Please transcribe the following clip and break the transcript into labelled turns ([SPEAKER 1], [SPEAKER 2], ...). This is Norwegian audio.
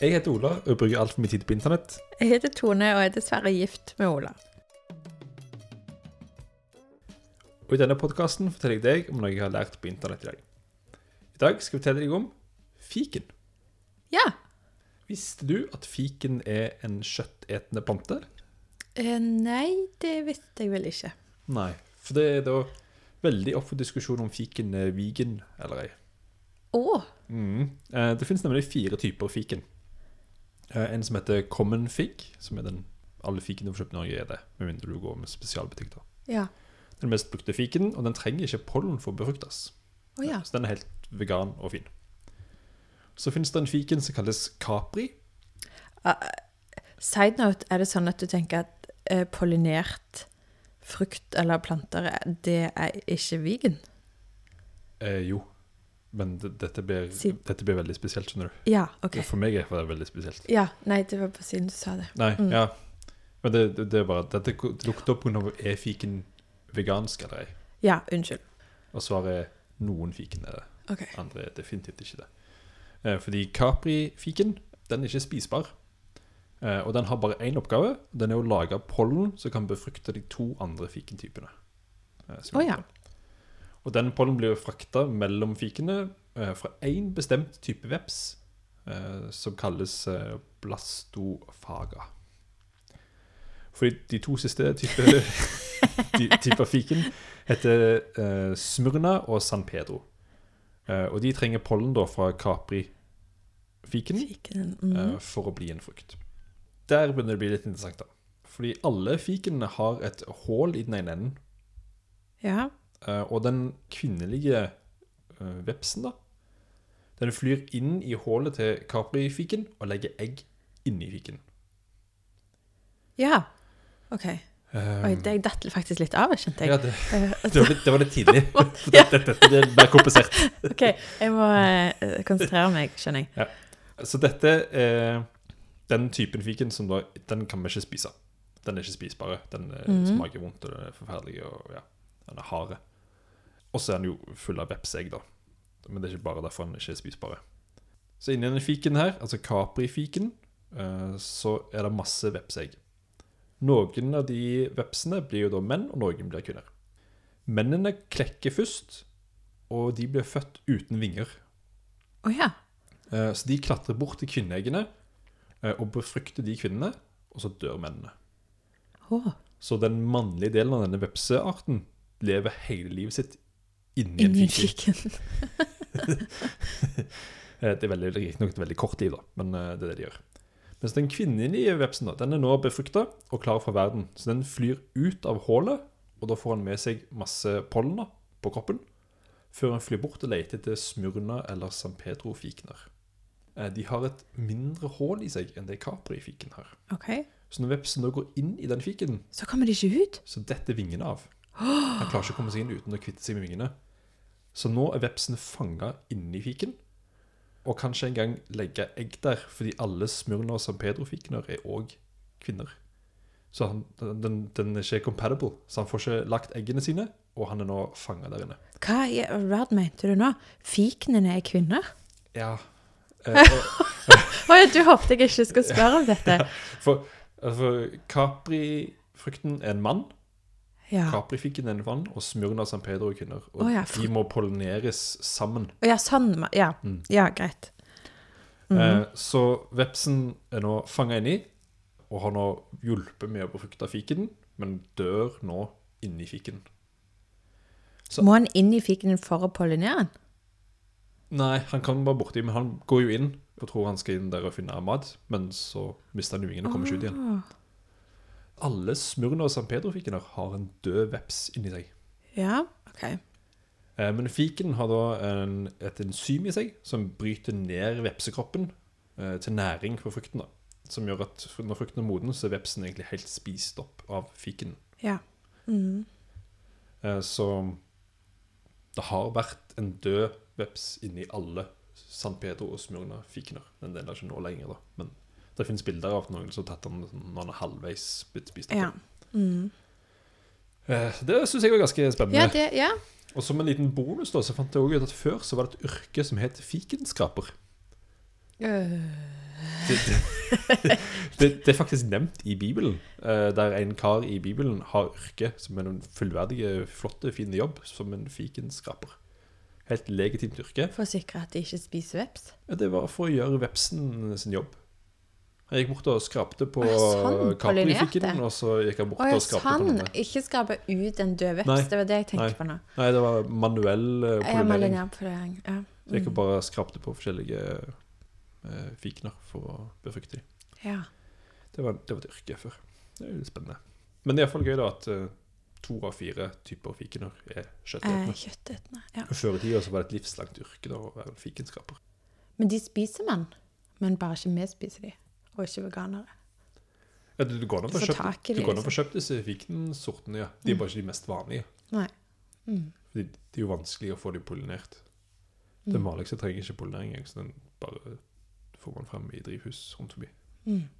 [SPEAKER 1] Jeg heter Ola og bruker altfor mye tid på internett.
[SPEAKER 2] Jeg heter Tone og er dessverre gift med Ola.
[SPEAKER 1] Og i denne podkasten forteller jeg deg om noe jeg har lært på internett i dag. I dag skal jeg fortelle deg om fiken.
[SPEAKER 2] Ja.
[SPEAKER 1] Visste du at fiken er en kjøttetende plante?
[SPEAKER 2] Eh, nei, det visste jeg vel ikke.
[SPEAKER 1] Nei. For det er da veldig opp for diskusjon om fiken er vegan eller ei.
[SPEAKER 2] Å,
[SPEAKER 1] Mm. Eh, Det finnes nemlig fire typer fiken. Eh, En som heter common fig, som er den alle fikene du får kjøpt i Norge, er det. Med mindre du går med spesialbutikk, da.
[SPEAKER 2] ja.
[SPEAKER 1] Den mest brukte fiken, og den trenger ikke pollen for å befruktes.
[SPEAKER 2] Å ja.
[SPEAKER 1] Så den er helt vegan og fin. Så finnes det en fiken som kalles capri.
[SPEAKER 2] Side note, er det sånn at du tenker at eh, pollinert frukt eller planter, eh, det er ikke vegan?
[SPEAKER 1] Eh, jo, men d- dette blir,
[SPEAKER 2] Si-
[SPEAKER 1] dette blir veldig spesielt, skjønner du.
[SPEAKER 2] Ja, ok.
[SPEAKER 1] For meg er det veldig spesielt.
[SPEAKER 2] Ja, Mm. nei, det var på siden du sa det.
[SPEAKER 1] Nei, ja. Men det, det, det er bare Dette ko- det lukter opp pga. er fiken vegansk eller ei.
[SPEAKER 2] Ja, unnskyld.
[SPEAKER 1] Og svaret er noen fiken er det.
[SPEAKER 2] Ok.
[SPEAKER 1] Andre er definitivt ikke det. Eh, fordi Capri-fiken den er ikke spisbar. Eh, og den har bare én oppgave. og Den er å lage pollen som kan befrukte de to andre fikentypene. Eh, som
[SPEAKER 2] Å
[SPEAKER 1] er
[SPEAKER 2] ja.
[SPEAKER 1] på. Og den pollen blir jo frakta mellom fikene eh, fra én bestemt type veps, eh, som kalles eh, blastofaga. Fordi de to siste typer type fiken heter eh, Smyrna og San Pedro. Eh, og de trenger pollen da fra Capri-fiken
[SPEAKER 2] Fikenen. Mm.
[SPEAKER 1] eh, for å bli en frukt. Der begynner det å bli litt interessant, da. Fordi alle fikenene har et hull i den ene enden.
[SPEAKER 2] Ja.
[SPEAKER 1] Eh, og den kvinnelige eh, vepsen, da, den flyr inn i hullet til Capri-fiken og legger egg inni fiken.
[SPEAKER 2] Ja. Ok.
[SPEAKER 1] Eh,
[SPEAKER 2] Oi, det jeg datt faktisk litt av, kjente
[SPEAKER 1] ja,
[SPEAKER 2] jeg.
[SPEAKER 1] det,
[SPEAKER 2] Eh,
[SPEAKER 1] det, var litt, det var litt tidlig. For
[SPEAKER 2] Ja.
[SPEAKER 1] Dette det, det ble komplisert.
[SPEAKER 2] ok, jeg må eh, konsentrere meg, skjønner jeg.
[SPEAKER 1] Så dette er den typen fiken som da Den kan vi ikke spise. Den er ikke spisbare. Den eh,
[SPEAKER 2] Mhm.
[SPEAKER 1] smaker vondt, og den er forferdelig, og ja, den er harde. Og så er den jo full av vepseegg, da. Men det er ikke bare derfor den ikke er spisbare. Så inni denne fiken her, altså Capri-fiken, eh, så er det masse vepseegg. Noen av de vepsene blir jo da menn, og noen blir kvinner. Mennene klekker først, og de blir født uten vinger.
[SPEAKER 2] Å ja.
[SPEAKER 1] Eh, Så de klatrer bort til kvinneeggene eh, og befrukter de kvinnene, og så dør mennene.
[SPEAKER 2] Å,
[SPEAKER 1] Så den mannlige delen av denne vepsearten lever hele livet sitt inni en
[SPEAKER 2] inni
[SPEAKER 1] fiken.
[SPEAKER 2] fiken.
[SPEAKER 1] Eh, Det er veldig, det er riktignok et veldig kort liv, da, men eh, det er det de gjør. Mens den kvinnelige vepsen da, den er nå befrukta og klar for verden. Så den flyr ut av hullet, og da får han med seg masse pollen da, på kroppen. Før han flyr bort og leter etter Smyrna eller San Pedro-fikener. Eh, De har et mindre hull i seg enn det Capri-fiken har.
[SPEAKER 2] Ok.
[SPEAKER 1] Så når vepsen da går inn i den fiken,
[SPEAKER 2] Så kommer de ikke ut?
[SPEAKER 1] så detter vingene av. Han klarer ikke å komme seg inn uten å kvitte seg med vingene. Så nå er vepsen fanga inni fiken, og kan ikke engang legge egg der, fordi alle Smyrna og San Pedro-fikener er òg kvinner. Så han, den, den er ikke compatible, så han får ikke lagt eggene sine, og han er nå fanga der inne.
[SPEAKER 2] Hva i all verden mente du nå? Fikenene er kvinner?
[SPEAKER 1] Ja. Eh, og,
[SPEAKER 2] Å ja, du håpet jeg ikke skulle spørre om dette.
[SPEAKER 1] for eh, for Capri-frukten er en mann.
[SPEAKER 2] Ja.
[SPEAKER 1] Capri-fiken er en vann, og Smyrna og San Pedro er kvinner. Og
[SPEAKER 2] Å ja,
[SPEAKER 1] de må pollineres sammen.
[SPEAKER 2] Å ja, sånn. ma- Ja,
[SPEAKER 1] Mm.
[SPEAKER 2] ja greit. Mhm.
[SPEAKER 1] Eh, så vepsen er nå fanga inni, og har nå hjulpet med å befrukte fiken, men dør nå inni fiken. Så-
[SPEAKER 2] Må han inn i fikenen for å pollinere den?
[SPEAKER 1] Nei, han kan bare borti, men han går jo inn og tror han skal inn der og finne mat, men så mister han jo ingen og kommer ikke ut igjen.
[SPEAKER 2] Å,
[SPEAKER 1] Alle Smyrna og San Pedro-fikener har en død veps inni seg.
[SPEAKER 2] Ja, ok.
[SPEAKER 1] Eh, Men fiken har da en, et enzym i seg som bryter ned vepsekroppen eh, til næring for frukten. da. Som gjør at fr- når frukten er moden, så er vepsen egentlig helt spist opp av fiken.
[SPEAKER 2] Ja. Mm.
[SPEAKER 1] Eh, Så det har vært en død veps inni alle San Pedro og Smyrna fikener. Den deler ikke nå lenger, da. Men det finnes bilder av noen som har tatt den sånn, når den er halvveis blitt spist
[SPEAKER 2] Ja.
[SPEAKER 1] opp.
[SPEAKER 2] Mm.
[SPEAKER 1] Eh, Det syns jeg var ganske spennende.
[SPEAKER 2] Ja, det, ja.
[SPEAKER 1] Og som en liten bonus da, så fant jeg også ut at før så var det et yrke som het fikenskraper.
[SPEAKER 2] Øh,
[SPEAKER 1] Det, det, det, det er faktisk nevnt i Bibelen, eh, der en kar i Bibelen har yrke som en fullverdig, flotte, fin jobb som en fikenskraper. Helt legitimt yrke.
[SPEAKER 2] For å sikre at de ikke spiser veps.
[SPEAKER 1] Ja, Det var for å gjøre vepsen sin jobb. Han gikk bort og skrapte på
[SPEAKER 2] Å, ja, sånn.
[SPEAKER 1] kaprifiken,
[SPEAKER 2] Pollinerte.
[SPEAKER 1] og så gikk han bort
[SPEAKER 2] Å ja,
[SPEAKER 1] og skrapte på
[SPEAKER 2] sånn.
[SPEAKER 1] denne.
[SPEAKER 2] Ikke skrape ut en død veps.
[SPEAKER 1] Nei.
[SPEAKER 2] Det var det jeg tenkte
[SPEAKER 1] Nei.
[SPEAKER 2] på nå.
[SPEAKER 1] Nei, det var manuell eh,
[SPEAKER 2] Jeg er
[SPEAKER 1] pollinering.
[SPEAKER 2] malinert på det. Ja. Mm.
[SPEAKER 1] Så jeg gikk og bare skrapte på forskjellige eh, fikener for å befrukte dem.
[SPEAKER 2] ja.
[SPEAKER 1] Det var, det var et yrke før. Det er jo litt spennende. Men det er iallfall gøy da at eh, to av fire typer fikener er
[SPEAKER 2] Eh,
[SPEAKER 1] kjøttetende.
[SPEAKER 2] Kjøttetende. Ja.
[SPEAKER 1] Før i tida så var det et livslangt yrke da, å være en fikenskraper.
[SPEAKER 2] Men de spiser man. Men bare ikke vi spiser de. Og ikke veganere.
[SPEAKER 1] Ja, du, du går an å
[SPEAKER 2] Du
[SPEAKER 1] få
[SPEAKER 2] får
[SPEAKER 1] kjøpt,
[SPEAKER 2] tak i
[SPEAKER 1] du
[SPEAKER 2] de,
[SPEAKER 1] går an å
[SPEAKER 2] liksom. Mm.
[SPEAKER 1] få kjøpt disse fikensortene, ja. De er bare ikke de mest vanlige.
[SPEAKER 2] Nei. Mm.
[SPEAKER 1] Fordi det er jo vanskelig å få dem pollinert.
[SPEAKER 2] Mm.
[SPEAKER 1] Den vanligste trenger ikke pollinering, engang, så den bare får man frem i drivhus rundt forbi.
[SPEAKER 2] Mm.